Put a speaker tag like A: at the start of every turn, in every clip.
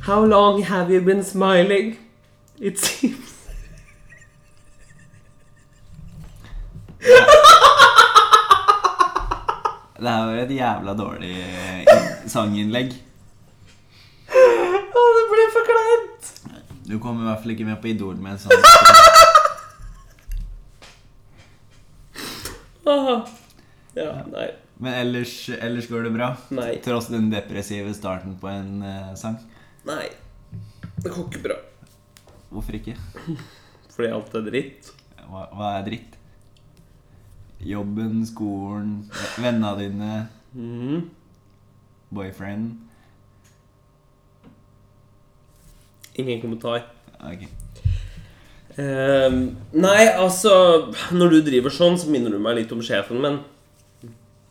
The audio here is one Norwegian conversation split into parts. A: How long have you been smiling? It seems
B: Det her var et jævla dårlig in- sanginnlegg.
A: Å, det ble for kleint!
B: Du kommer i hvert fall ikke med på Idol med en sånn.
A: Åh. Ah. Ja, nei.
B: Men ellers, ellers går det bra.
A: Nei.
B: Tross den depressive starten på en eh, sang.
A: Nei. Det går ikke bra.
B: Hvorfor ikke?
A: Fordi alt er dritt.
B: Hva, hva er dritt? Jobben, skolen, vennene dine,
A: Mhm.
B: boyfriend.
A: Ingen kommentar.
B: Ok.
A: Eh, nei, altså Når du driver sånn, så minner du meg litt om sjefen min.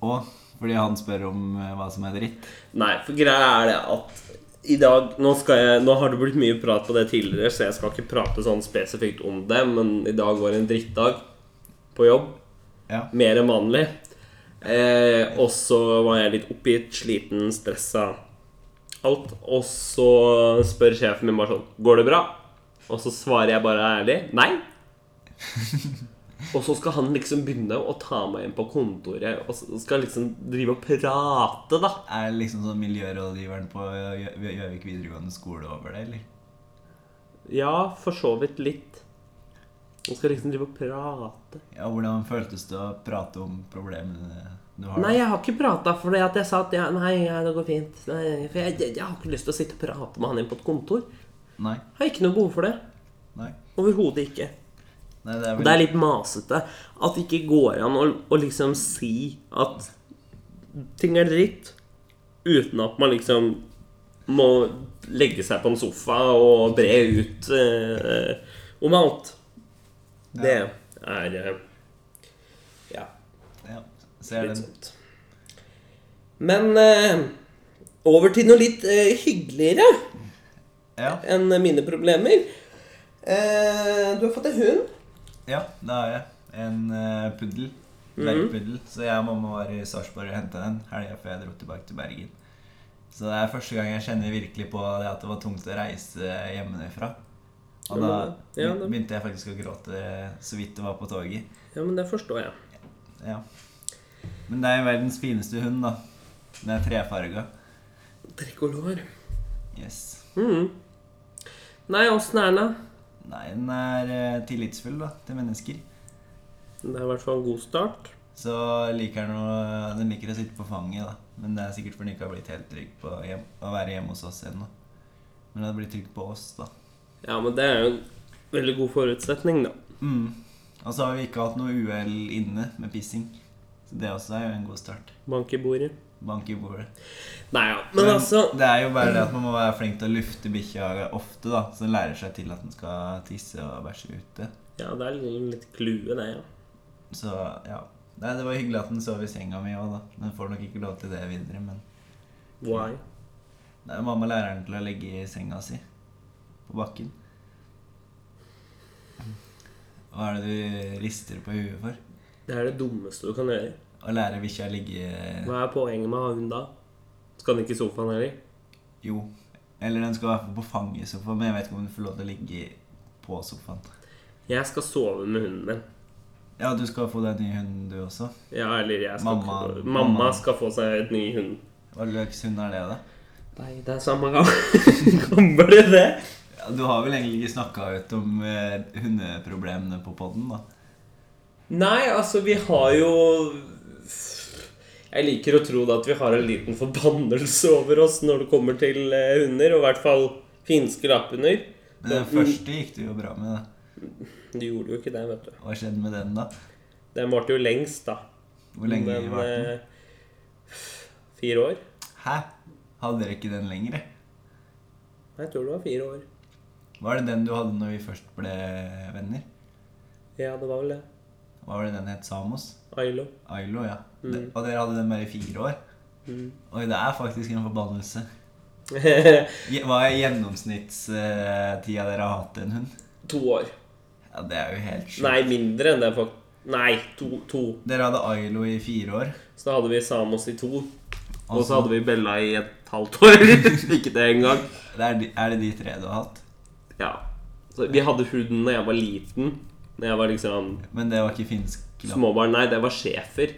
B: Og fordi han spør om eh, hva som er dritt.
A: Nei, for greia er det at i dag nå, skal jeg, nå har det blitt mye prat på det tidligere, så jeg skal ikke prate sånn spesifikt om det, men i dag var en drittdag på jobb.
B: Ja.
A: Mer enn vanlig. Eh, og så var jeg litt oppgitt, sliten, stressa. Alt. Og så spør sjefen min bare sånn Går det bra? Og så svarer jeg bare ærlig nei. Og så skal han liksom begynne å ta meg inn på kontoret og så skal liksom drive og prate, da.
B: Er liksom sånn miljørådgiveren på Gjø- Gjø- Gjøvik videregående skole over det, eller?
A: Ja, for så vidt litt. Man skal liksom drive og prate.
B: Ja, Hvordan føltes det å prate om problemene du har?
A: Nei, jeg har ikke prata fordi at jeg sa at ja, nei, ja, det går fint. Nei, for jeg, jeg, jeg har ikke lyst til å sitte og prate med han inn på et kontor.
B: Nei.
A: Jeg har ikke noe behov for det.
B: Nei.
A: Overhodet ikke.
B: Nei, det er
A: Og
B: vel
A: det er litt masete at det ikke går an å, å liksom si at ting er dritt, uten at man liksom må legge seg på en sofa og bre ut eh, om alt. Det er eh, Ja,
B: ja. Ser
A: litt
B: den.
A: sånt. Men eh, over til noe litt eh, hyggeligere
B: Ja.
A: enn mine problemer. Eh, du har fått en hund.
B: ja, det har jeg. En eh, puddel.
A: Mhm.
B: Dvergpuddel. Så jeg og mamma var i Sarpsborg og henta den helga før jeg dro tilbake til Bergen. Så det er første gang jeg kjenner virkelig på det at det var tungt å reise hjemmefra. Og da
A: Ja, det-
B: begynte jeg faktisk å gråte så vidt det var på toget.
A: Ja, men det forstår jeg.
B: Ja. Men det er verdens fineste hund, da. Den er trefarga.
A: Tricolor.
B: Yes.
A: Mhm. Nei, åssen er den, da?
B: Nei, den er eh, tillitsfull da, til mennesker.
A: Det er i hvert fall en god start.
B: Så liker den å, den liker å sitte på fanget, da. Men det er sikkert fordi den ikke har blitt helt trygg på hjem, å være hjemme hos oss ennå. Men den har blitt trygg på oss, da.
A: Ja, men det er jo en veldig god forutsetning, da.
B: Mm. Og så har vi ikke hatt noe uhell inne med pissing. Så det også er jo en god start.
A: Bank i bordet.
B: Bank i bordet.
A: Nei ja, men altså
B: det er jo bare det at man må være flink til å lufte bikkja ofte, da. Så den lærer seg til at den skal tisse og bæsje ute.
A: Ja, det er litt- litt klue, det, ja.
B: Så ja. Nei, det var hyggelig at den sov i senga mi òg, da. Den får nok ikke lov til det videre, men
A: Why?
B: Nei, mamma lærer den til å ligge i senga si på bakken. Hva er det du rister på huet for?
A: Det er det dummeste du kan gjøre.
B: Å lære bikkja å ligge
A: Hva er poenget med å ha hund da? Skal den ikke i sofaen heller?
B: Jo. Eller den skal i hvert fall på fanget i sofaen, men jeg vet ikke om den får lov til å ligge på sofaen.
A: Jeg skal sove med hunden min.
B: Ja, du skal få deg ny hund, du også.
A: Ja, eller jeg skal
B: Mamma-
A: Mamma
B: mamma.
A: skal få seg et ny hund.
B: Hva slags hund er det, da?
A: Nei, det er samme gang. Kommer det det?
B: Ja, du har vel egentlig ikke snakka ut om eh, hundeproblemene på poden, da?
A: Nei, altså, vi har jo Jeg liker å tro da at vi har en liten forbannelse over oss når det kommer til eh, hunder, og i hvert fall finske lapphunder.
B: Men
A: Mm.
B: den første gikk det jo bra med, da.
A: Du gjorde jo ikke det, vet du.
B: Hva skjedde med den, da?
A: Den varte jo lengst, da.
B: Hvor lenge
A: Men,
B: var den?
A: eh, Fire år?
B: Hæ? Hadde dere ikke den lenger?
A: Nei, Jeg tror det var fire år.
B: Var det den du hadde når vi først ble venner?
A: Ja, det var vel det.
B: Hva var det den het? Samos?
A: Ailo.
B: Ailo, ja.
A: Mm.
B: De, og dere hadde den bare i fire år? Oi, det er faktisk en forbannelse. Je- Hva er gjennomsnittstida dere har hatt en hund?
A: to år.
B: Ja, Det er jo helt sjukt.
A: Nei, mindre enn det. fakt- Nei, to. to.
B: Dere hadde Ailo i fire år.
A: Så da hadde vi Samos i to. Og
B: Altså-
A: så hadde vi Bella i et halvt år. Ikke det engang.
B: Det er, de, er det de tre du har hatt?
A: Ja. Så vi hadde huden da jeg var liten. Når jeg var liksom
B: Men det var ikke finsk lapp.
A: småbarn. Nei, det var schæfer.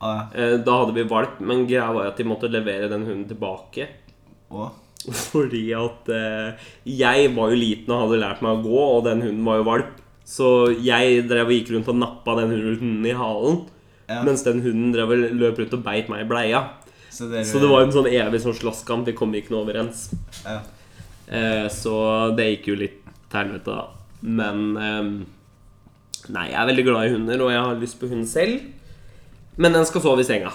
B: Ah,
A: Eh, Da hadde vi valp, men greia var at de måtte levere den hunden tilbake.
B: og?
A: Fordi at eh, jeg var jo liten og hadde lært meg å gå, og den hunden var jo valp. Så jeg drev og gikk rundt og nappa den hunden i halen.
B: Ja.
A: Mens den hunden drev og løp rundt og beit meg i bleia.
B: Så, dere,
A: Så det var en sånn evig sånn slåsskamp. Vi kom ikke noe overens.
B: ja.
A: Eh, så det gikk jo litt til helvete, da. Men ehm, Nei, jeg er veldig glad i hunder, og jeg har lyst på hund selv. Men den skal sove i senga.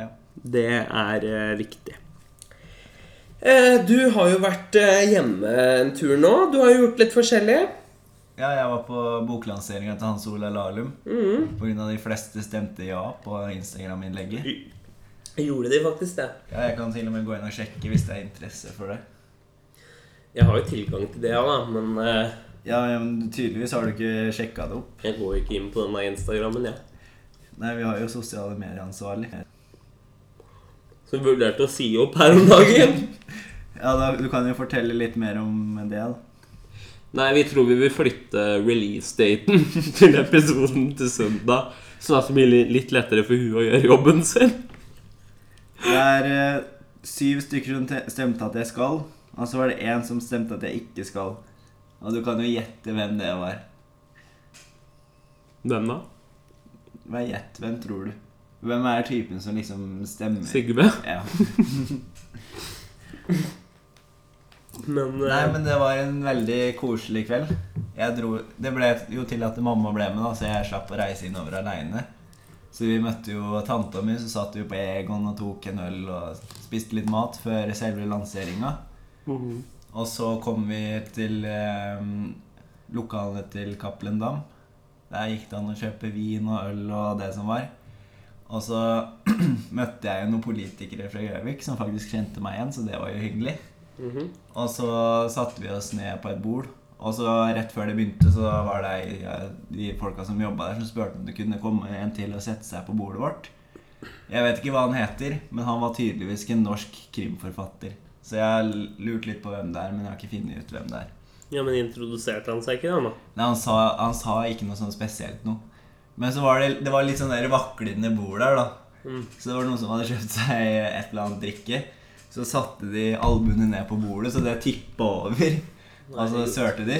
B: Ja.
A: Det er eh, viktig. Eh, du har jo vært eh, hjemme en tur nå. Du har jo gjort litt forskjellig.
B: ja, jeg var på boklanseringa til Hans Ola Lahlum.
A: Mm.
B: På grunn av de fleste stemte ja på Instagram-innlegget.
A: Gjorde de faktisk det?
B: Ja, jeg kan til og med gå inn og sjekke hvis det er interesse for det.
A: Jeg har jo tilgang til det, ja, da, men eh,
B: Ja, ja, men tydeligvis har du ikke sjekka det opp.
A: jeg går ikke inn på den der Instagrammen, jeg.
B: Nei, vi har jo sosiale medieransvarlig.
A: Så jeg vurderte å si opp her om dagen.
B: Ja, da, du kan jo fortelle litt mer om det, da.
A: Nei, vi tror vi vil flytte release-daten til episoden til søndag. Så det blir det litt lettere for hun å gjøre jobben sin.
B: Det er eh, syv stykker som te- stemte at jeg skal, og så var det én som stemte at jeg ikke skal. Og du kan jo gjette hvem det var.
A: Hvem da?
B: Hva gjett, hvem tror du? Hvem er typen som liksom stemmer?
A: Sigve?
B: Ja.
A: Men, eh,
B: Nei, men det var en veldig koselig kveld. Jeg dro, det ble jo til at mamma ble med, da, så jeg slapp å reise innover aleine. Så vi møtte jo tanta mi, så satt vi på Egon og tok en øl og spiste litt mat før selve lanseringa.
A: Mhm.
B: Og så kom vi til eh, lokalene til Cappelen Dam. Der gikk det an å kjøpe vin og øl og det som var. Og så møtte jeg jo noen politikere fra Gjøvik som faktisk kjente meg igjen, så det var jo hyggelig.
A: Mhm.
B: Og så satte vi oss ned på et bord. Og så rett før det begynte, så var det ei- ja, de folka som jobba der, som spurte om det kunne komme en til og sette seg på bordet vårt. Jeg vet ikke hva han heter, men han var tydeligvis ikke en norsk krimforfatter. Så jeg har l- lurt litt på hvem det er, men jeg har ikke funnet ut hvem det er.
A: Ja, men introduserte han seg ikke, da? nå?
B: Nei, han sa, han sa ikke noe sånn spesielt noe. Men så var det, det var litt sånn der vaklende bord der, da. Så det var noen som hadde kjøpt seg et eller annet drikke. Så satte de albuene ned på bordet, så det tippa over. Og så sørte de.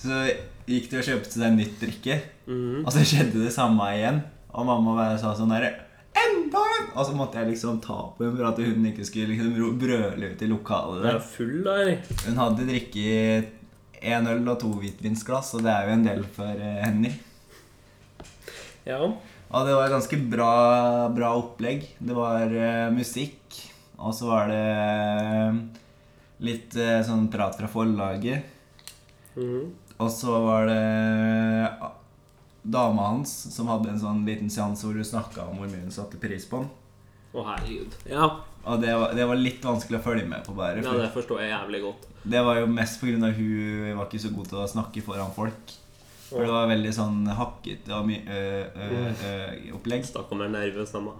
B: Så gikk de og kjøpte seg nytt drikke.
A: Mhm.
B: Og så skjedde det samme igjen. Og mamma bare sa sånn derre Enda en! Og så måtte jeg liksom ta på henne for at hun ikke skulle liksom ro- brøle ut i
A: Jeg
B: lokalet. der.
A: er full, da, eller?
B: Hun hadde drikket en øl og to hvitvinsglass, og det er jo en del for eh, Henny.
A: Ja.
B: Og det var et ganske bra, bra opplegg. Det var eh, musikk, og så var det eh, litt eh, sånn prat fra forlaget.
A: Mhm.
B: Og så var det eh, dama hans som hadde en sånn liten seanse hvor hun snakka om hvor mye hun satte pris på han.
A: Å, herregud. Ja.
B: Og det var, det var litt vanskelig å følge med på, bare.
A: ja,
B: for-
A: det forstår jeg jævlig godt.
B: Det var jo mest på grunn av hun var ikke så god til å snakke foran folk. For det var veldig sånn hakkete og mye øh, øh, øh, opplegg.
A: Stakk om jeg er nervøs, da. mann.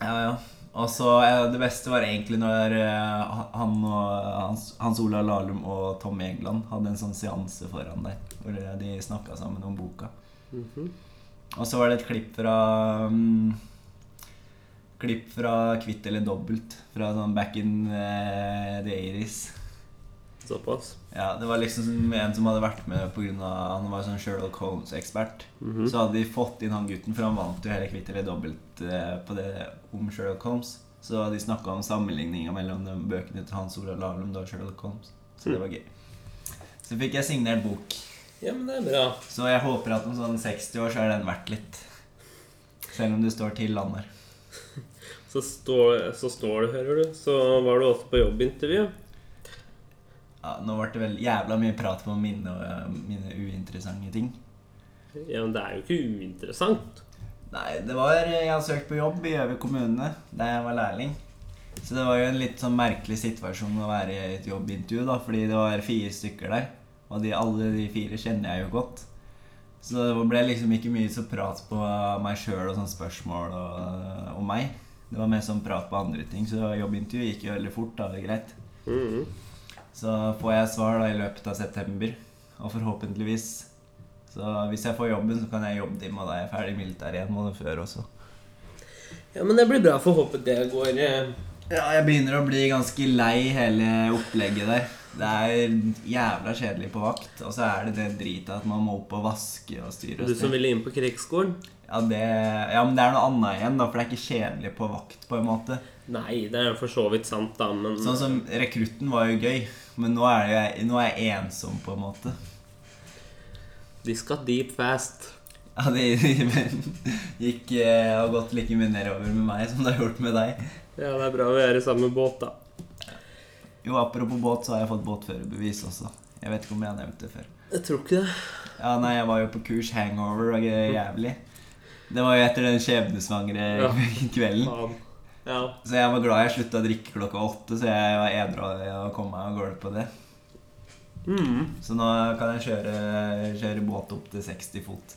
B: Ja, ja. Og så eh, Det beste var egentlig når eh, han og Hans, Hans Ola Lahlum og Tom Egeland hadde en sånn seanse foran der, hvor de snakka sammen om boka. Og så var det et klipp fra mm, Klipp fra Kvitt eller dobbelt, fra sånn back in eh, the 80s.
A: Såpass.
B: Ja, det var liksom som en som hadde vært med pga. han var sånn Sherlock Holmes-ekspert. Så hadde de fått inn han gutten, for han vant jo hele kvitt eller dobbelt eh, på det om Sherlock Holmes. Så de snakka om sammenligninga mellom de bøkene til Hans Olav Lahlum og Sherlock Holmes. Så det var gøy. Så fikk jeg signert bok.
A: Ja, men det er bra.
B: Så jeg håper at om sånn 60 år så er den verdt litt. Selv om det står til Lander.
A: Så står, så står du, hører du. Så var du også på jobbintervju.
B: Ja, nå ble det vel jævla mye prat om mine, eh, mine uinteressante ting.
A: Ja, men det er jo ikke uinteressant.
B: Nei, det var eh, Jeg har søkt på jobb i Gjøvik kommune, der jeg var lærling. Så det var jo en litt sånn merkelig situasjon å være i et jobbintervju, da, fordi det var fire stykker der. Og de, alle de fire kjenner jeg jo godt. Så det ble liksom ikke mye så prat på meg sjøl og sånne spørsmål og, om meg. Det var mer sånn prat på andre ting, så jobbintervju gikk jo veldig fort. da, det er greit.
A: Mhm.
B: Så får jeg svar da i løpet av september, og forhåpentligvis Så hvis jeg får jobben, så kan jeg jobbe til og da er jeg ferdig i militæret en måned før også.
A: Ja, men det blir bra. Får håpe det går eh,
B: Ja, jeg begynner å bli ganske lei hele opplegget der. Det er jævla kjedelig på vakt, og så er det det dritet at man må opp og vaske og styre
A: Du
B: og
A: som
B: styre.
A: ville inn på krigsskolen?
B: Ja, det, ja, men det er noe annet igjen, da, for det er ikke kjedelig på vakt, på en måte.
A: Nei, det er for så vidt sant, da, men
B: Sånn som rekrutten var jo gøy, men nå er, jeg, nå er jeg ensom, på en måte.
A: de skal deep fast.
B: Ja, det gikk eh, har gått like mye nedover med meg som det har gjort med deg.
A: Ja, det er bra vi er i samme båt, da.
B: Jo, apropos båt, så har jeg fått båtførerbevis også. Jeg vet ikke om jeg har nevnt det før.
A: Jeg tror ikke det.
B: Ja, nei, jeg var jo på kurs hangover og eh, jævlig. Det var jo etter den skjebnesvangre
A: Ja.
B: kvelden.
A: Faen. Ja.
B: Så jeg var glad jeg slutta å drikke klokka åtte, så jeg var edru av det og kom meg av gårde på det.
A: Mm.
B: Så nå kan jeg kjøre, kjøre båt opp til 60 fot.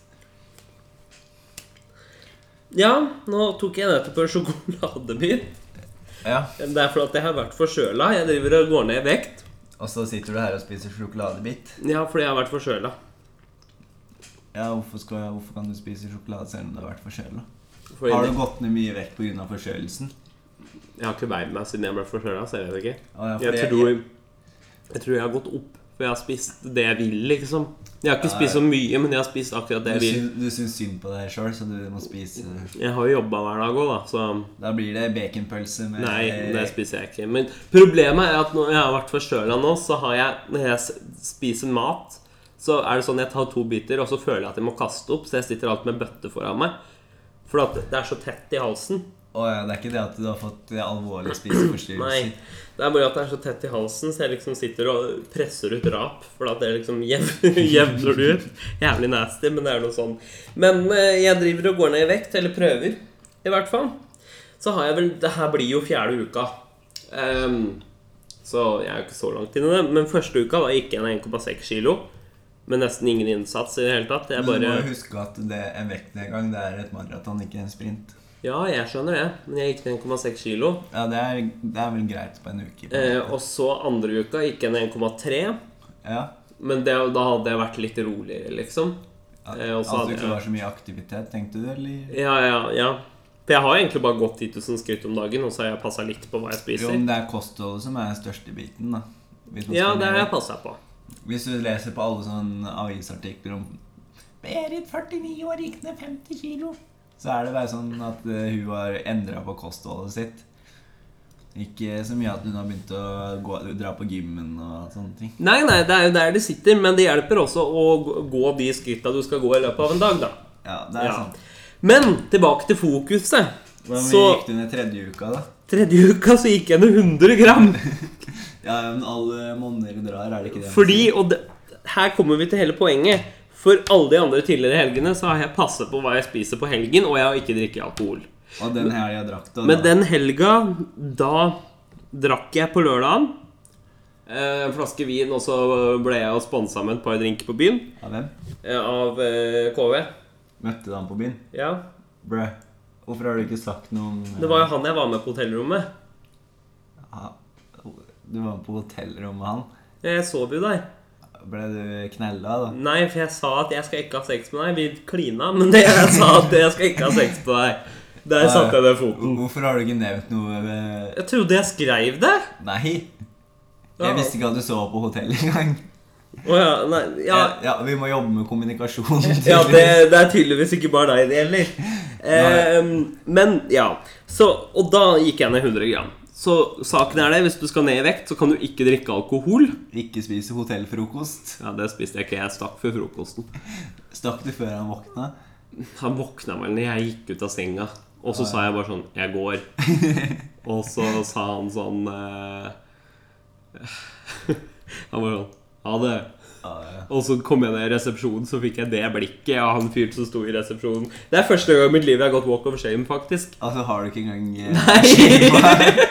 A: ja, nå tok jeg nettopp en sjokoladebit.
B: Ja,
A: Det er fordi at jeg har vært forkjøla. Jeg driver og går ned i vekt.
B: Og så sitter du her og spiser sjokoladebit.
A: Ja, fordi jeg har vært forkjøla.
B: Ja, hvorfor, skal, hvorfor kan du spise sjokolade selv om du har vært forkjøla?
A: Fordi
B: Har du
A: det-
B: gått ned mye vekt pga. forkjølelsen?
A: Jeg har ikke veid meg siden jeg ble forkjøla, så jeg vet ikke.
B: Å, ja, for
A: Jeg
B: det-
A: tror, jeg tror jeg har gått opp, for jeg har spist det jeg vil, liksom. Jeg har ikke
B: Ja,
A: spist så mye, men jeg har spist akkurat det jeg
B: du,
A: vil.
B: syns, du syns synd på deg sjøl, så du må spise
A: Jeg har jo jobba hver dag òg, da, så
B: Da blir det baconpølse med
A: Nei, det spiser jeg ikke. Men problemet er at når jeg har vært forkjøla nå, så har jeg Når jeg s- spiser mat, så er det sånn jeg tar to biter, og så føler jeg at jeg må kaste opp, så jeg sitter alltid med bøtte foran meg. For at det er så tett i halsen.
B: Å, ja, det er ikke det at du har fått eh, alvorlige spiseforstyrrelser?
A: Nei. Det er bare at det er så tett i halsen, så jeg liksom sitter og presser ut rap. For at det liksom jevner jevner det ut. Jævlig nasty, men det er noe sånn. Men eh, jeg driver og går ned i vekt, eller prøver, i hvert fall. Så har jeg vel Det her blir jo fjerde uka. Ehm, så jeg er jo ikke så langt inn i det. Men første uka da gikk jeg ned 1,6 kilo. Med nesten ingen innsats i det hele tatt. Jeg
B: Men du
A: bare
B: må jo huske at det en vektnedgang det er et maraton, ikke en sprint.
A: Ja, jeg skjønner det. Men jeg gikk ned 1,6 kilo.
B: Ja, det er, det er vel greit på en uke. på en
A: Eh,
B: måte.
A: og så andre uka gikk jeg ned 1,3.
B: ja,
A: Men det, da hadde jeg vært litt roligere, liksom.
B: at,
A: eh, og så hadde
B: at Altså, du
A: jeg-
B: ikke var så mye aktivitet, tenkte du, eller?
A: Ja, ja, ja. For jeg har egentlig bare gått 10 000 skritt om dagen, og så har jeg passa litt på hva jeg
B: Jo,
A: spiser.
B: men det er kostholdet som er den største biten, da. Hvis man
A: Ja,
B: skal
A: det har
B: ned-
A: jeg passa på.
B: Hvis du leser på alle sånne avisartikler om Berit, 49 år, gikk ned 50 kilo. Så er det bare sånn at eh, hun har endra på kostholdet sitt. Ikke så mye at hun har begynt å gå, dra på gymmen og sånne ting.
A: Nei, nei, det er jo der det sitter, men det hjelper også å g- gå de skritta du skal gå i løpet av en dag, da.
B: Ja, det er
A: Ja.
B: sant.
A: Men tilbake til fokuset.
B: Hvor mye
A: Så
B: gikk du ned tredje uka, da?
A: tredje uka så gikk jeg ned 100 gram.
B: Ja, men alle monner drar, er det ikke det? man
A: Fordi,
B: sier?
A: og det, her kommer vi til hele poenget. For alle de andre tidligere helgene så har jeg passa på hva jeg spiser på helgen, og jeg har ikke drikket alkohol.
B: Og den helga drakk du, og
A: Men
B: da-
A: den helga, da drakk jeg på lørdagen. Eh, En flaske vin, og så ble jeg og sponsa med et par drinker på byen.
B: Ja, hvem?
A: eh, Av eh, KV.
B: Møtte du han på byen?
A: Ja.
B: Brø. Hvorfor har du ikke sagt noe om
A: Det var jo han jeg var med på hotellrommet.
B: ja, Du var på hotellrommet med han.
A: Jeg sov jo der.
B: Ble du knella, da?
A: Nei, for jeg sa at jeg skal ikke ha sex med deg. Vi klina, men det jeg sa at jeg skal ikke ha sex med deg. Der satte jeg den foten.
B: Hvorfor har du ikke nevnt noe ved...
A: Jeg trodde jeg skrev det.
B: Nei! Jeg visste ikke at du sov på hotell engang.
A: Å ja, nei, ja,
B: Ja. ja, vi må jobbe med kommunikasjon.
A: Ja, det,
B: tydeligvis.
A: det er tydeligvis ikke bare deg det gjelder. Eh, men ja. Så, og da gikk jeg ned 100 gram. Så saken er det, hvis du skal ned i vekt, så kan du ikke drikke alkohol.
B: Ikke spise hotellfrokost.
A: Ja, det spiste jeg ikke. Jeg stakk før frokosten.
B: Stakk du før han våkna?
A: Han våkna vel når jeg gikk ut av senga, og så sa jeg bare sånn 'Jeg går'. Og så sa han sånn eh, Han var sånn 'Ha det'.
B: Ja, ja.
A: Og så kom jeg ned i resepsjonen, så fikk jeg det blikket av han fyren som sto i resepsjonen. Det er første gang i mitt liv jeg har gått walk of shame, faktisk.
B: Altså, har du ikke engang eh,
A: Nei.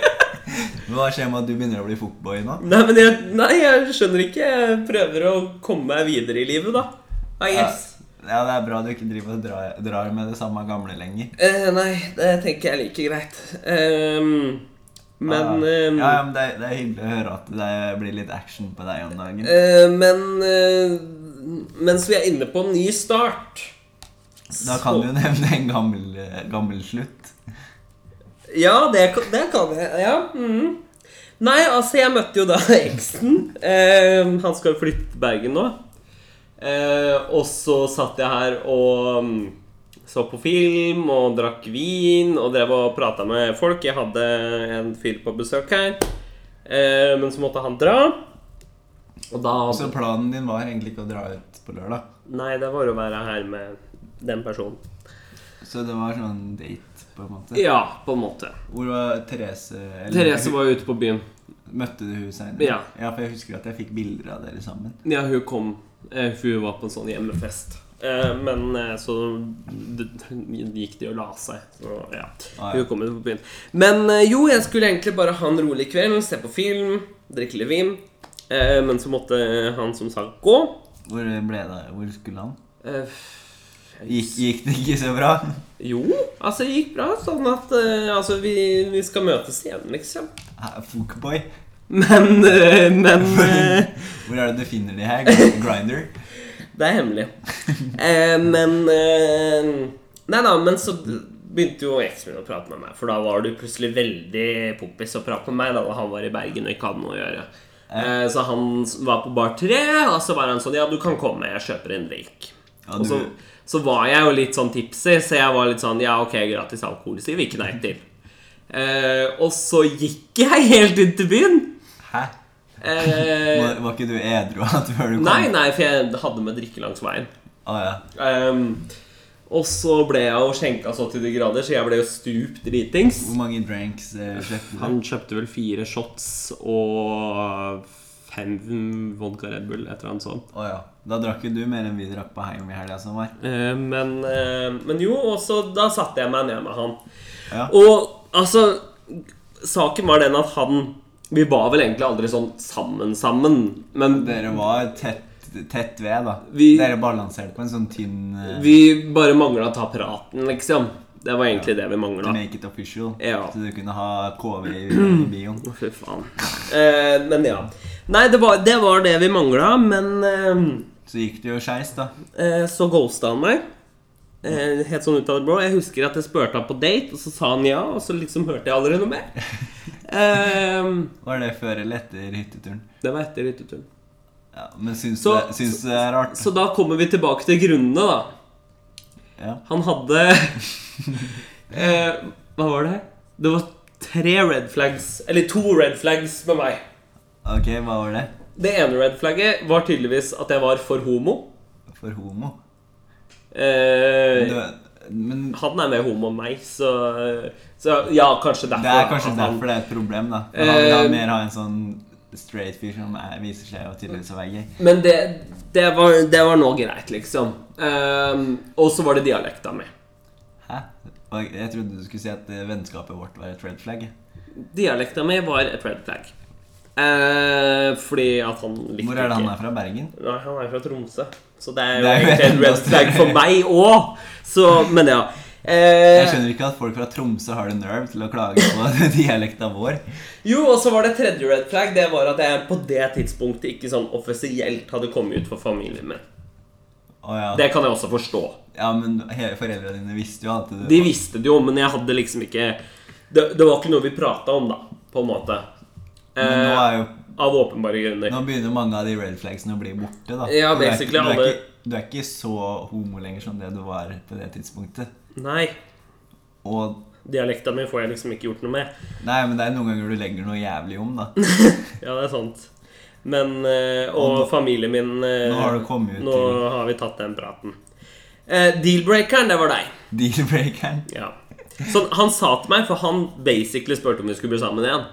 B: Hva skjer med at du begynner å bli footboy nå?
A: Nei, men jeg, nei, jeg skjønner ikke. Jeg prøver å komme meg videre i livet, da. Ah, yes.
B: Ja, Ja, det er bra du ikke driver og drar, drar med det samme gamle lenger.
A: Eh, nei, det tenker jeg er like greit. Ehm, men
B: ja,
A: ehm,
B: ja, men det, er- det er hyggelig å høre at det blir litt action på deg om dagen.
A: eh, Men eh, mens vi er inne på ny start
B: Da kan du jo nevne en gammel, eh, gammel slutt.
A: Ja, det kan, det kan jeg. Ja. mhm. Nei, altså, jeg møtte jo da eksen. Ehm, han skal jo flytte til Bergen nå. Eh, og så satt jeg her og mm, så på film og drakk vin og drev og prata med folk. Jeg hadde en fyr på besøk her, eh, men så måtte han dra. Og da
B: Så Altså, planen din var egentlig ikke å dra ut på lørdag.
A: Nei, det var å være her med den personen.
B: Så det var sånn date, på en måte.
A: Ja, på en måte.
B: Hvor var Therese eller-
A: Therese var jo ute på byen.
B: Møtte du hun seinere?
A: Ja.
B: for jeg husker at jeg fikk bilder av dere sammen.
A: Ja, hun kom. eh, For hun var på en sånn hjemmefest. Eh, Men eh, så d- gikk de og la seg. Så ja.
B: Ah, ja.
A: Hun kom ut på byen. Men eh, jo, jeg skulle egentlig bare ha en rolig kveld, se på film, drikke litt vin. Eh, Men så måtte han som sagt gå.
B: Hvor ble det? Hvor skulle han?
A: Eh,
B: Gikk, gikk det ikke så bra?
A: Jo, altså det gikk bra. Sånn at eh, altså, vi, vi skal møtes igjen, liksom.
B: Ah, Fuckboy.
A: Men, eh, men eh,
B: Hvor er det du finner de her? Grinder?
A: Det er hemmelig. Eh, men eh, Nei da, men så begynte jo eksen min å prate med meg. For da var du plutselig veldig poppis å prate med meg da han var i Bergen og ikke hadde noe å gjøre. Eh, så han var på bar tre, og så var han sånn Ja, du kan komme, jeg kjøper en drink.
B: Ja,
A: Og så,
B: du-
A: så var jeg jo litt sånn tipsy, så jeg var litt sånn Ja, ok, gratis alkohol sier vi ikke nei til. Eh, og så gikk jeg helt inn til byen.
B: Hæ?
A: Eh,
B: Var, var ikke du edru at før du kom?
A: nei, nei, for jeg hadde med drikke langs veien.
B: Å ja.
A: Ehm, og så ble jeg jo skjenka så til de grader, så jeg ble jo stup dritings.
B: Hvor mange drinks eh, kjøpte du?
A: Han kjøpte vel fire shots og fem vodka Red Bull, et eller annet sånt.
B: Å ja. Da drakk jo du mer enn vi drakk på Heim i helga som var.
A: Eh, men, eh, men jo, og så da satte jeg meg ned med han.
B: Ja.
A: Og altså Saken var den at han Vi var vel egentlig aldri sånn sammen sammen, men
B: Dere var tett, tett ved, da.
A: Vi-
B: Dere balanserte på en sånn tynn eh,
A: vi bare mangla å ta praten, liksom. Det var egentlig det vi mangla.
B: Make it official.
A: Ja.
B: Så du kunne ha KV i bioen.
A: Å, Fy faen. Eh, men ja. Nei, det var det, var det vi mangla, men
B: Så gikk det jo skeis, da.
A: eh, eh, så ghosta han meg. Eh, helt sånn ut av det blå. Jeg husker at jeg spurte han på date, og så sa han ja, og så liksom hørte jeg aldri noe mer. Eh,
B: Var det før eller etter hytteturen?
A: det var etter hytteturen.
B: Ja, men syns,
A: Så-
B: du, syns du det er rart?
A: Så da kommer vi tilbake til grunnene, da.
B: Ja.
A: Han hadde eh, Hva var det? Det var tre red flags, eller to red flags med meg.
B: Ok, hva var det?
A: Det ene red flagget var tydeligvis at jeg var for homo.
B: For homo?
A: Eh,
B: Du, men
A: Han er mer homo enn meg, så, så ja, kanskje derfor.
B: det er kanskje
A: at han-
B: derfor det er et problem, da. For han vil ha
A: Eh,
B: mer ha en sånn straight fyr som er, viser seg å tydeligvis å være gay.
A: Men det, det, var, det var nå greit, liksom. Ehm, og så var det dialekta mi.
B: Hæ? Og Jeg trodde du skulle si at eh, vennskapet vårt var et red flag.
A: Dialekta mi var et red flag. Eh, fordi at han likte
B: Hvor er det han
A: ikke
B: er fra? Bergen?
A: Nei, han er fra Tromsø, så det er jo
B: Det er jo
A: egentlig en
B: enda
A: red flag
B: større.
A: for meg òg. Så, men ja.
B: Jeg
A: Eh,
B: skjønner ikke at folk fra Tromsø har det nerve til å klage på dialekta vår.
A: jo, og så var det tredje red flag. Det var at jeg på det tidspunktet ikke sånn offisielt hadde kommet ut for familien min.
B: Å ja.
A: Det kan jeg også forstå.
B: Ja, men he- foreldrene dine visste jo at du
A: De visste det jo, men jeg hadde liksom ikke Det, det var ikke noe vi prata om, da, på en måte.
B: Men nå,
A: Eh,
B: er jo,
A: av åpenbare grunner.
B: nå begynner mange av de red flagsene å bli borte, da.
A: Ja,
B: Så du er
A: basically
B: ikke- du, er
A: alle-
B: ikke, du er ikke så homo lenger som det du var på det tidspunktet.
A: Nei.
B: Og
A: Dialekta mi får jeg liksom ikke gjort noe med.
B: Nei, men det er noen ganger du legger noe jævlig om, da.
A: Ja, det er sant. Men eh, Og
B: Og nå-
A: familien min eh,
B: Nå har du kommet ut
A: Nå har vi tatt den praten. Eh, Dealbreakeren, det var deg.
B: til deal-breakeren.
A: Ja. Så han sa til meg, for han basically spurte om vi skulle bli sammen igjen.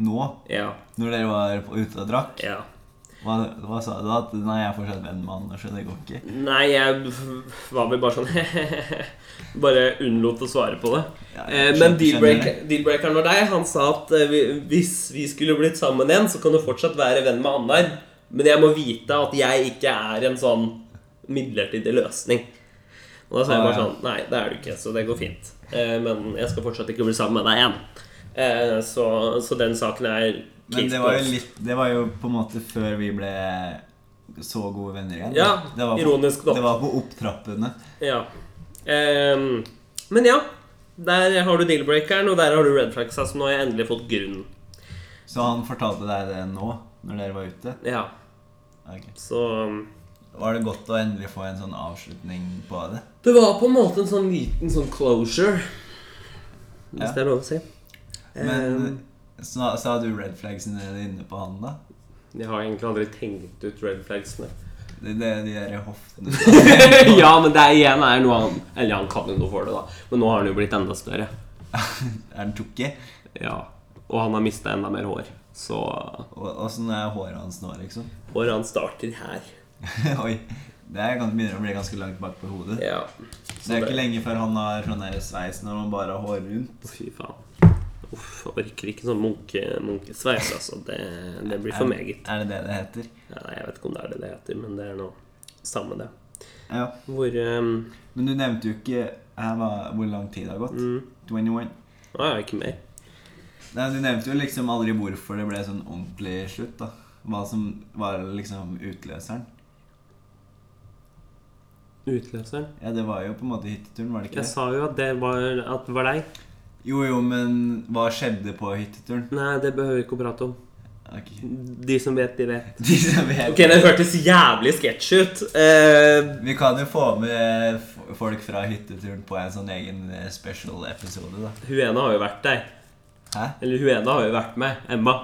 B: Nå,
A: Ja.
B: når dere var på- ute og drakk,
A: ja.
B: hva, hva sa du da? At nei, jeg er fortsatt venn med han, og så det går ikke.
A: Nei, jeg f- var vel bare sånn Bare unnlot å svare på det.
B: Ja,
A: Eh,
B: jeg
A: Men
B: skjønner-
A: dealbreaker- dealbreakeren var deg. Han sa at eh, vi- hvis vi skulle blitt sammen igjen, så kan du fortsatt være venn med Annar, men jeg må vite at jeg ikke er en sånn midlertidig løsning. Og da sa jeg
B: Ah,
A: bare
B: ja.
A: sånn Nei, det er du ikke, så det går fint. Eh, men jeg skal fortsatt ikke bli sammen med deg igjen. Eh, så, så den saken er
B: Men
A: case
B: det var, jo
A: closed.
B: litt, det var jo på en måte før vi ble så gode venner igjen. da.
A: Ja,
B: det var på,
A: ironisk nok.
B: Det var på opptrappene.
A: Ja. Ehm, men ja. Der har du deal-breakeren, og der har du red flags. Altså, nå har jeg endelig fått grunnen.
B: Så han fortalte deg det nå, når dere var ute?
A: Ja,
B: Ok.
A: så um,
B: Var det godt å endelig få en sånn avslutning på det?
A: Det var på en måte en sånn liten sånn closure, hvis
B: Ja.
A: det er lov å si.
B: Men eh,
A: Ehm,
B: sa, sa du red flagsene inne på han, da?
A: jeg har egentlig aldri tenkt ut red flagsene.
B: Det, det, de der hoftene
A: ja, men det er igjen er noe han Eller han kan jo noe for det, da. Men nå har han jo blitt enda større.
B: Er den tjukke?
A: Ja. Og han har mista enda mer hår. Så
B: Og- Åssen er håret hans nå, liksom?
A: håret hans starter her.
B: Oi. Det er, gan- begynner å bli ganske langt bak på hodet.
A: Ja.
B: Det er ikke lenge før han har sånn der sveis når han bare har hår rundt.
A: Fy faen. Uff, jeg orker ikke sånn munke, munkesveis, altså. Det, det blir for meget.
B: Er det det det heter?
A: Ja, nei, jeg vet ikke om det er det det heter, men det er nå samme det.
B: Ja.
A: Hvor ehm,
B: Men du nevnte jo ikke her var, hvor lang tid det har gått.
A: Mm.
B: 21.
A: Nå er jeg ikke mer.
B: Nei, Du nevnte jo liksom aldri hvorfor det ble sånn ordentlig slutt. da Hva som var liksom utløseren.
A: Utløseren.
B: Ja, Det var jo på en måte hytteturen, var det ikke
A: Jeg
B: det?
A: sa jo at det var, at det var deg.
B: Jo jo, men hva skjedde på hytteturen?
A: Nei, det behøver vi ikke å prate om.
B: Ok.
A: De som vet, de vet.
B: De som vet
A: Ok, det hørtes jævlig sketsj ut. Eh,
B: Vi kan jo få med f- folk fra hytteturen på en sånn egen eh, special episode, da.
A: hun ene har jo vært der.
B: Hæ?
A: Eller hun ene har jo vært med. Emma.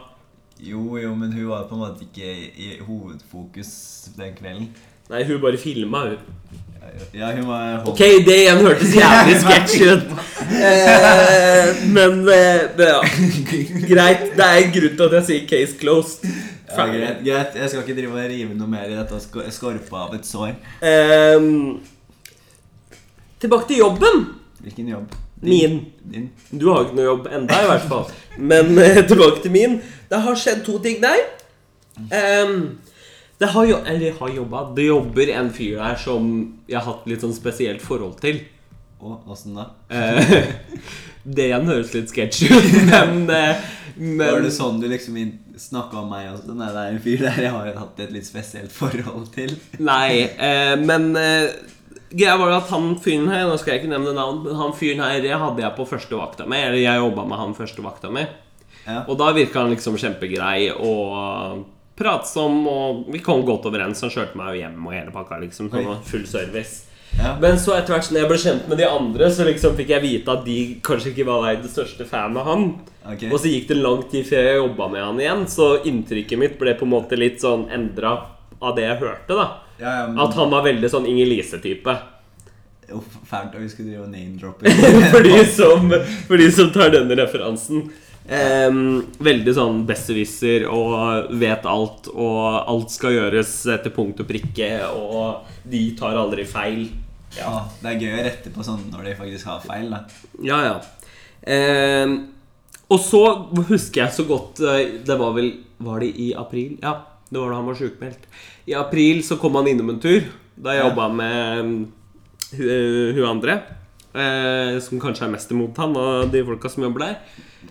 B: Jo jo, men hun var på en måte ikke i hovedfokus den kvelden.
A: Nei, hun bare filma, hun.
B: Ja, hun var
A: Ok, det igjen hørtes jævlig sketsj ut. Eh, men eh, men ja. Greit. Det er en grunn til at jeg sier case closed.
B: Ja, greit, greit, jeg skal ikke drive og rive noe mer i dette sko- skorpa av et sår.
A: Ehm, tilbake til jobben.
B: Hvilken jobb?
A: Min.
B: Din?
A: Du har ikke noe jobb enda i hvert fall. Men eh, tilbake til min. Det har skjedd to ting der. Ehm, det har jo Eller jeg har jobba. Det jobber en fyr der som jeg har hatt litt sånn spesielt forhold til.
B: Og åssen da?
A: Eh, det igjen høres litt sketsj ut, men, eh,
B: Var
A: men
B: det sånn du liksom snakka om meg også? Nei, det er en fyr der jeg har hatt et litt spesielt forhold til.
A: Nei, eh, men eh, greia var jo at han fyren her Nå skal jeg ikke nevne navn, men han fyren her hadde jeg på første vakta med. Eller jeg jobba med han første vakta med.
B: Ja.
A: Og da virka han liksom kjempegrei og pratsom, og vi kom godt overens. Han kjørte meg jo hjem og hele pakka, liksom.
B: Oi.
A: Sånn og full service.
B: Ja.
A: Men så etter hvert som jeg ble kjent med de andre, så liksom fikk jeg vite at de kanskje ikke var den største fan av han.
B: Ok.
A: Og så gikk det lang tid før jeg jobba med han igjen, så inntrykket mitt ble på en måte litt sånn endra av det jeg hørte, da.
B: Ja, ja, men
A: At han var veldig sånn Inger-Lise-type.
B: Jo, fælt at vi skulle drive og name-droppe.
A: for, de som, for de som tar denne referansen. Em, veldig sånn besserwisser og vet alt, og alt skal gjøres etter punkt og prikke, og de tar aldri feil.
B: Ja. Det er gøy å rette på sånn når de faktisk har feil, da.
A: Ja, ja. Em, og så husker jeg så godt eh, Det var vel Var det i april? Ja, det var da han var sjukmeldt. I april så kom han innom en tur, da jeg
B: Ja.
A: jobba med em, hu- eh, hun andre. Eh, som kanskje er mest imot han og de folka som jobber der.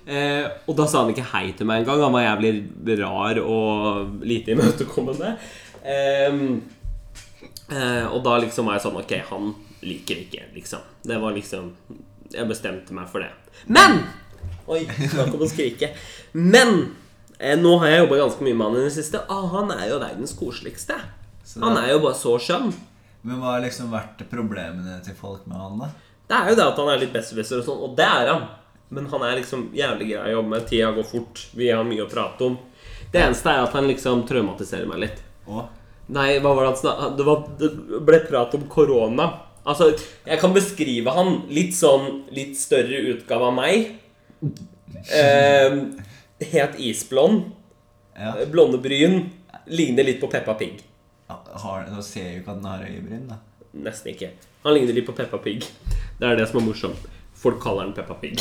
A: Eh, og da sa han ikke hei til meg engang. Han var jævlig rar og lite imøtekommende. Ehm, Em, eh, og da liksom var jeg sånn Ok, han liker vi ikke, liksom. Det var liksom Jeg bestemte meg for det. Men! Oi, snakk om å skrike. Men! Eh, nå har jeg jobba ganske mye med han i det siste. Ah, han er jo verdens koseligste.
B: Så
A: Han
B: da-
A: er jo bare så skjønn.
B: Men hva har liksom vært problemene til folk med han, da?
A: Det er jo det at han er litt besserwisser og sånn, og det er han. Men han er liksom jævlig grei å jobbe med. Tida går fort. Vi har mye å prate om. Det eneste er at han liksom traumatiserer meg litt.
B: Og
A: Nei, hva var det han snak- det, var, det ble prat om korona. Altså, jeg kan beskrive han litt sånn litt større utgave av meg. Eh, helt isblond.
B: ja.
A: Blonde bryn. Ligner litt på Peppa Pig.
B: har, Nå ser jeg jo ikke at den har øyebryn, da.
A: Nesten ikke. Han ligner litt på Peppa Pig. Det er det som er morsomt. Folk kaller han Peppa Pig.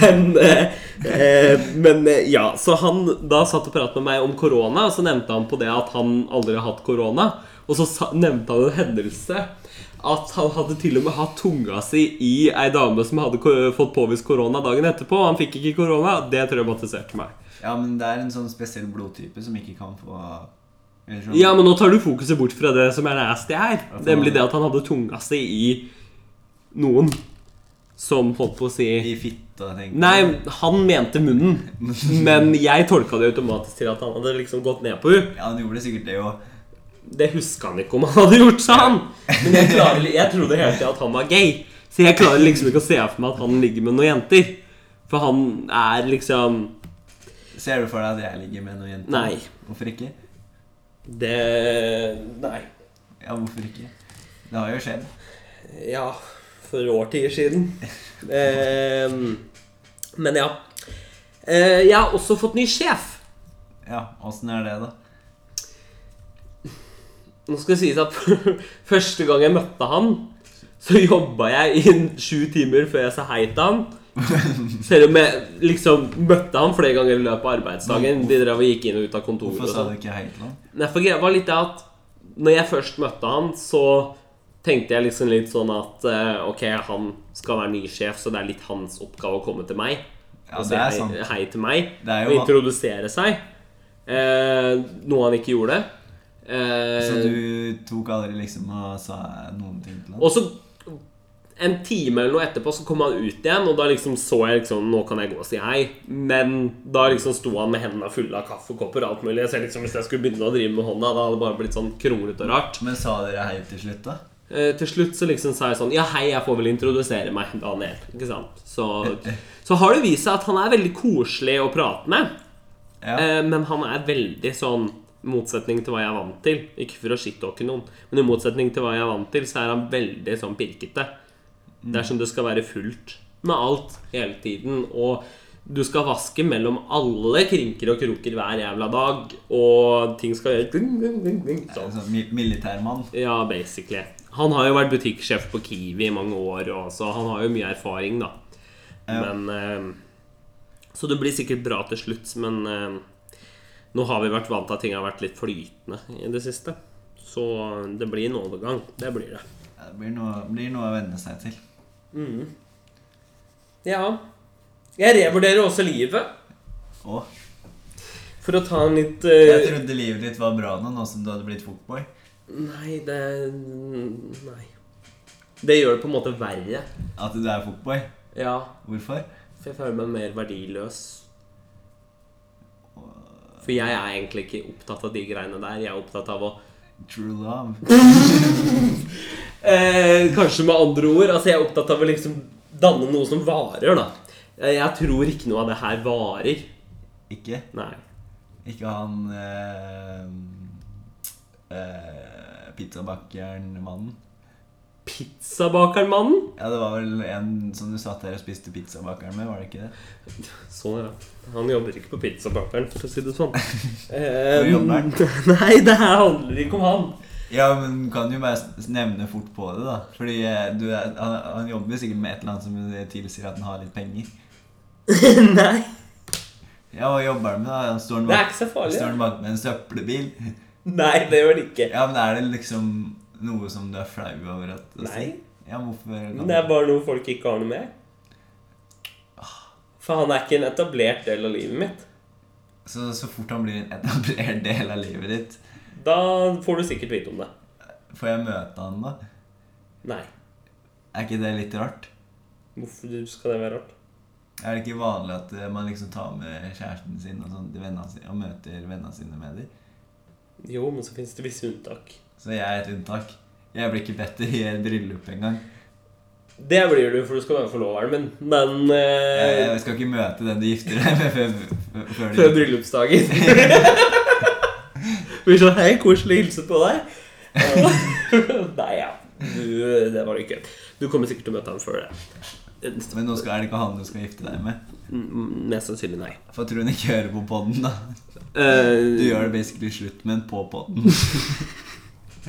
A: men, eh, eh, men eh, ja, så han da satt og pratet med meg om korona, og så nevnte han på det at han aldri har hatt korona. Og så sa, nevnte han en hendelse at han hadde til og med hatt tunga si i ei dame som hadde ko- fått påvist korona dagen etterpå. Han fikk ikke korona. Det traumatiserte meg.
B: Ja, men det er en sånn spesiell blodtype som ikke kan få eller sånn.
A: Ja, men nå tar du fokuset bort fra det som er nasty her.
B: han-
A: Nemlig det at han hadde tunga si i noen som holdt på å si
B: I fitta, tenker
A: Nei,
B: jeg.
A: han mente munnen. Men jeg tolka det automatisk til at han hadde liksom gått ned på henne.
B: Ja, han gjorde sikkert det jo.
A: Det huska han ikke om han hadde gjort, sa han. Men jeg, klarer, jeg trodde hele tida at han var gay. Så jeg klarer liksom ikke å se for meg at han ligger med noen jenter. For han er liksom
B: Ser du for deg at jeg ligger med noen jenter?
A: Nei.
B: Hvorfor ikke?
A: Det Nei.
B: Ja, hvorfor ikke? Det har jo skjedd.
A: Ja, for årtier siden. Ehm, men ja. Eh, jeg har også fått ny sjef.
B: Ja, åssen er det, da?
A: Nå skal det sies at første gang jeg møtte han, så jobba jeg inn sju timer før jeg sa hei til han. Selv om jeg liksom møtte han flere ganger i løpet av arbeidsdagen. Vi drev og gikk inn og ut av kontoret.
B: Hvorfor
A: og
B: sa
A: sånn.
B: du ikke hei til han?
A: Nei, for greia var litt det at Når jeg først møtte han, så tenkte jeg liksom litt sånn at eh, Ok, han skal være ny sjef, så det er litt hans oppgave å komme til meg.
B: Ja,
A: og si
B: Altså, det er
A: hei,
B: sant.
A: hei til meg.
B: Det er
A: Og
B: jo
A: introdusere seg. Eh, noe han ikke gjorde. Eh,
B: Så Altså, du tok aldri liksom og sa noen ting til han?
A: Og så en time eller noe etterpå så kom han ut igjen, og da liksom så jeg liksom Nå kan jeg gå og si hei. Men da liksom sto han med hendene fulle av kaffekopper og alt mulig. Så jeg liksom, hvis jeg skulle begynne å drive med hånda, da hadde det bare blitt sånn kronglete og rart.
B: Men sa dere hei til slutt, da?
A: Eh, til slutt så liksom sa jeg sånn Ja, hei, jeg får vel introdusere meg, Daniel. Ikke sant? Så, så har det vist seg at han er veldig koselig å prate med.
B: Ja.
A: Eh, men han er veldig sånn Motsetning til hva jeg er vant til. Ikke for å shittalke noen, men i motsetning til hva jeg er vant til, så er han veldig sånn pirkete. Det er som det skal være fullt med alt hele tiden. Og du skal vaske mellom alle krinker og kroker hver jævla dag, og ting skal gjøre ding, ding, ding, ding, sånn.
B: Altså, mi- Militærmann.
A: Ja, basically. Han har jo vært butikksjef på Kiwi i mange år, og så han har jo mye erfaring, da.
B: Ja.
A: Men eh, Så det blir sikkert bra til slutt, men eh, nå har vi vært vant til at ting har vært litt flytende i det siste. Så eh, det blir en overgang. Det blir det.
B: Ja, Det blir noe, blir noe å venne seg til.
A: Ja. Jeg revurderer også livet.
B: Å,
A: Eh. For å ta en litt
B: jeg
A: eh,
B: trodde livet ditt var bra nå, nå som du hadde blitt fuckboy.
A: Nei, det mm, Nei. Det gjør det på en måte verre.
B: At du er fuckboy.
A: Ja.
B: Hvorfor?
A: For jeg føler meg mer verdiløs. For jeg er egentlig ikke opptatt av de greiene der. Jeg er opptatt av å
B: True love.
A: eh, Kanskje med andre ord. Altså Jeg er opptatt av å liksom danne noe som varer, da. Eh, Jeg tror ikke noe av det her varer.
B: Ikke
A: Nei.
B: Ikke han eh, eh, pizzabakeren-mannen.
A: Pizzabakeren-mannen?
B: Ja, det var vel en som du satt der og spiste pizzabakeren med, var det ikke det?
A: Sånn, ja. Han jobber ikke på pizzabakeren, for å si det sånn. Eh,
B: Hvor jobber han?
A: Nei, det her handler ikke om han.
B: Ja, men kan jo bare s- nevne fort på det, da. Fordi eh, du, er- han, han jobber sikkert med et eller annet som tilsier at han har litt penger.
A: Nei.
B: Ja, hva jobber han med, da? Han Står han
A: Det er
B: bak,
A: ikke så farlig.
B: står
A: da.
B: han bak med en søppelbil?
A: Nei, det gjør det ikke.
B: Ja, men er det liksom noe som du er flau over at å si?
A: Nei.
B: Ja, hvorfor kan
A: Men det er bare noe folk ikke har noe med. For han er ikke en etablert del av livet mitt.
B: Så, så fort han blir en etablert del av livet ditt,
A: Da får du sikkert vite om det.
B: får jeg møte han da?
A: Nei.
B: Er ikke det litt rart?
A: Hvorfor skal det være rart?
B: Er det ikke vanlig at eh, man liksom tar med kjæresten sin og, sånn, til vennene sine, og møter vennene sine med dem?
A: Jo, men så fins det visse unntak.
B: Så jeg er et unntak. Jeg blir ikke bedt i et bryllup engang.
A: Det blir du, for du skal være forloveren min, men
B: Jeg,
A: eh,
B: jeg skal ikke møte den du gifter deg med før, før,
A: Før
B: før du
A: bryllupsdagen. Blir sånn Hei, koselig å hilse på deg. Nei, ja. Du, det var det ikke. Du kommer sikkert til å møte ham før det.
B: Men nå skal, er det ikke han du skal gifte deg med.
A: Mm, Mest sannsynlig nei.
B: For tror hun ikke hører på podden, da. Du
A: Eh,
B: gjør det basically slutt med en på podden.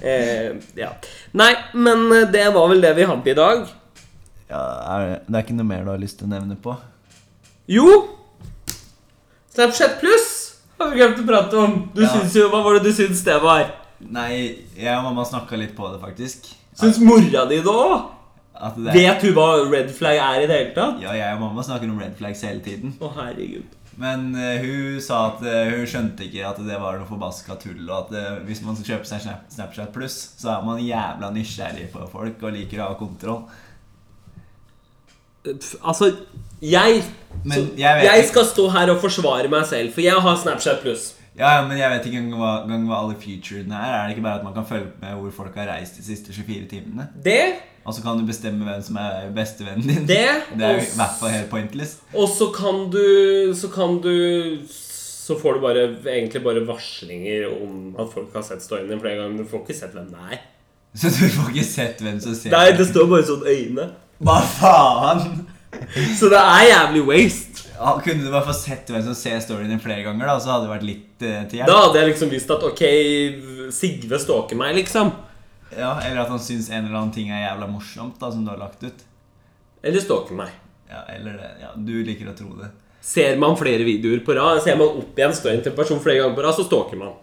A: eh, ja. Nei, men eh, det var vel det vi hadde i dag.
B: Ja, er det, det er ikke noe mer du har lyst til å nevne på?
A: Jo! Snapchat pluss har vi glemt å prate om. Du
B: Ja.
A: syns jo, Hva var det du syns det var?
B: Nei, jeg og mamma snakka litt på det, faktisk.
A: Syns mora di det òg?
B: At det
A: Vet hun hva red flag er i det hele tatt?
B: Ja, jeg og mamma snakker om red flags hele tiden.
A: Å, herregud.
B: Men eh, hun sa at eh, hun skjønte ikke at det var noe forbaska tull. Og at eh, hvis man skal kjøpe seg Snap- Snapchat Pluss, så er man jævla nysgjerrig på folk og liker å ha kontroll.
A: Pff, Altså, jeg
B: Men
A: så-
B: jeg vet
A: jeg
B: ikke-
A: skal stå her og forsvare meg selv, for jeg har Snapchat pluss.
B: Ja, ja, men jeg vet ikke engang hva, engang hva alle featurene er. Er det ikke bare at man kan følge med hvor folk har reist de siste 24 timene?
A: Det,
B: Og så kan du bestemme hvem som er bestevennen din.
A: Det,
B: det er
A: og
B: jo i
A: s-
B: hvert fall helt pointless.
A: og så kan du Så kan du Så får du bare, egentlig bare varslinger om at folk har sett storyen din flere ganger. men Du får ikke sett hvem det er.
B: Så du får ikke sett hvem som ser
A: Nei, det står bare sånn øyne.
B: Hva faen?
A: Så det er jævlig waste.
B: Ja, Kunne du bare få sett hvem som ser storyen din flere ganger, da, så hadde det vært litt eh, til
A: Da
B: hjelp.
A: hadde jeg liksom visst at ok, Sigve stalker meg, liksom.
B: Ja, Eller at han syns en eller annen ting er jævla morsomt, da, som du har lagt ut.
A: Eller stalker meg.
B: Ja, eller det. Ja, du liker å tro det.
A: Ser man flere videoer på rad, ser man opp igjen storyen til en person flere ganger på rad, så stalker man.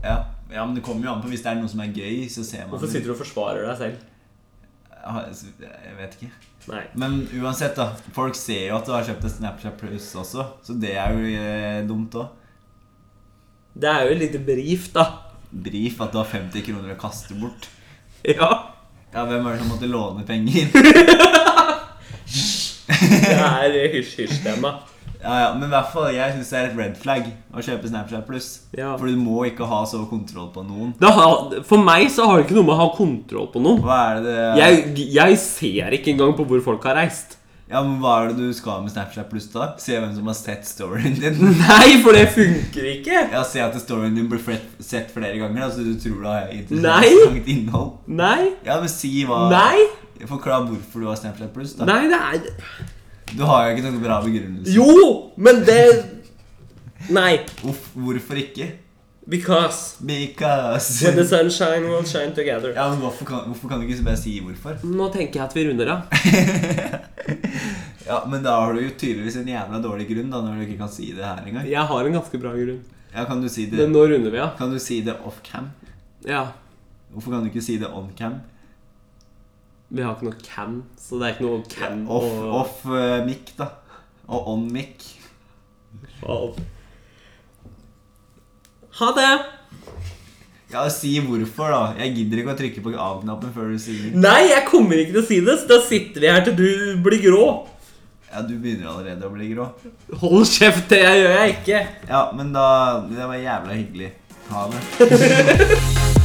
B: Ja. ja, men det kommer jo an på hvis det er noe som er gøy, så ser man
A: Hvorfor
B: det.
A: sitter du og forsvarer deg selv?
B: Ja, altså, Jeg vet ikke.
A: Nei.
B: Men uansett, da. Folk ser jo at du har kjøpt en Snapchat Plus også, så det er jo eh, dumt òg.
A: Det er jo et lite brief, da.
B: Brif at du har 50 kroner å kaste bort.
A: Ja.
B: Ja, hvem er det som måtte låne penger?
A: Det er hysj-hysj-tema.
B: Ja, ja, Men i hvert fall, jeg syns det er et red flag å kjøpe Snapchat Plus.
A: Ja.
B: For du må ikke ha så kontroll på noen.
A: Det har- For meg så har det ikke noe med å ha kontroll på noe.
B: Hva er det
A: Jeg, jeg ser ikke engang på hvor folk har reist.
B: Ja, men Hva er det du skal med Snapchat Plus, da? Se hvem som har sett storyen din?
A: Nei, for det funker ikke!
B: Ja, Se at storyen din blir flet- sett flere ganger, da, så du tror du har
A: Nei.
B: interessant innhold.
A: Nei.
B: Ja, men si hva
A: Nei.
B: Forklar hvorfor du har Snapchat Plus, da.
A: Nei, det er
B: Du har jo ikke noen bra begrunnelse.
A: Jo, men det Nei.
B: Uff, hvorfor ikke?
A: Because
B: Because
A: when the sunshine will shine together.
B: Ja, men hvorfor kan, hvorfor kan du ikke bare si hvorfor?
A: Nå tenker jeg at vi runder av.
B: Ja, Men da har du jo tydeligvis en jævla dårlig grunn da, når du ikke kan si det her engang.
A: Jeg har en ganske bra grunn.
B: Ja, kan du si det,
A: Men nå runder vi av.
B: kan du si det off cam?
A: Ja.
B: Hvorfor kan du ikke si det on cam?
A: Vi har ikke noe cam, så det er ikke noe cam
B: Off,
A: og-
B: off eh, mic, da. Og on mic.
A: og Ha det!
B: Ja, si hvorfor, da. Jeg gidder ikke å trykke på av-knappen før du sier det.
A: Nei, jeg kommer ikke til å si det, så da sitter vi her til du blir grå.
B: Ja, du begynner allerede å bli grå.
A: Hold kjeft, det gjør jeg ikke.
B: Ja, men da Det var jævla hyggelig. Ha det.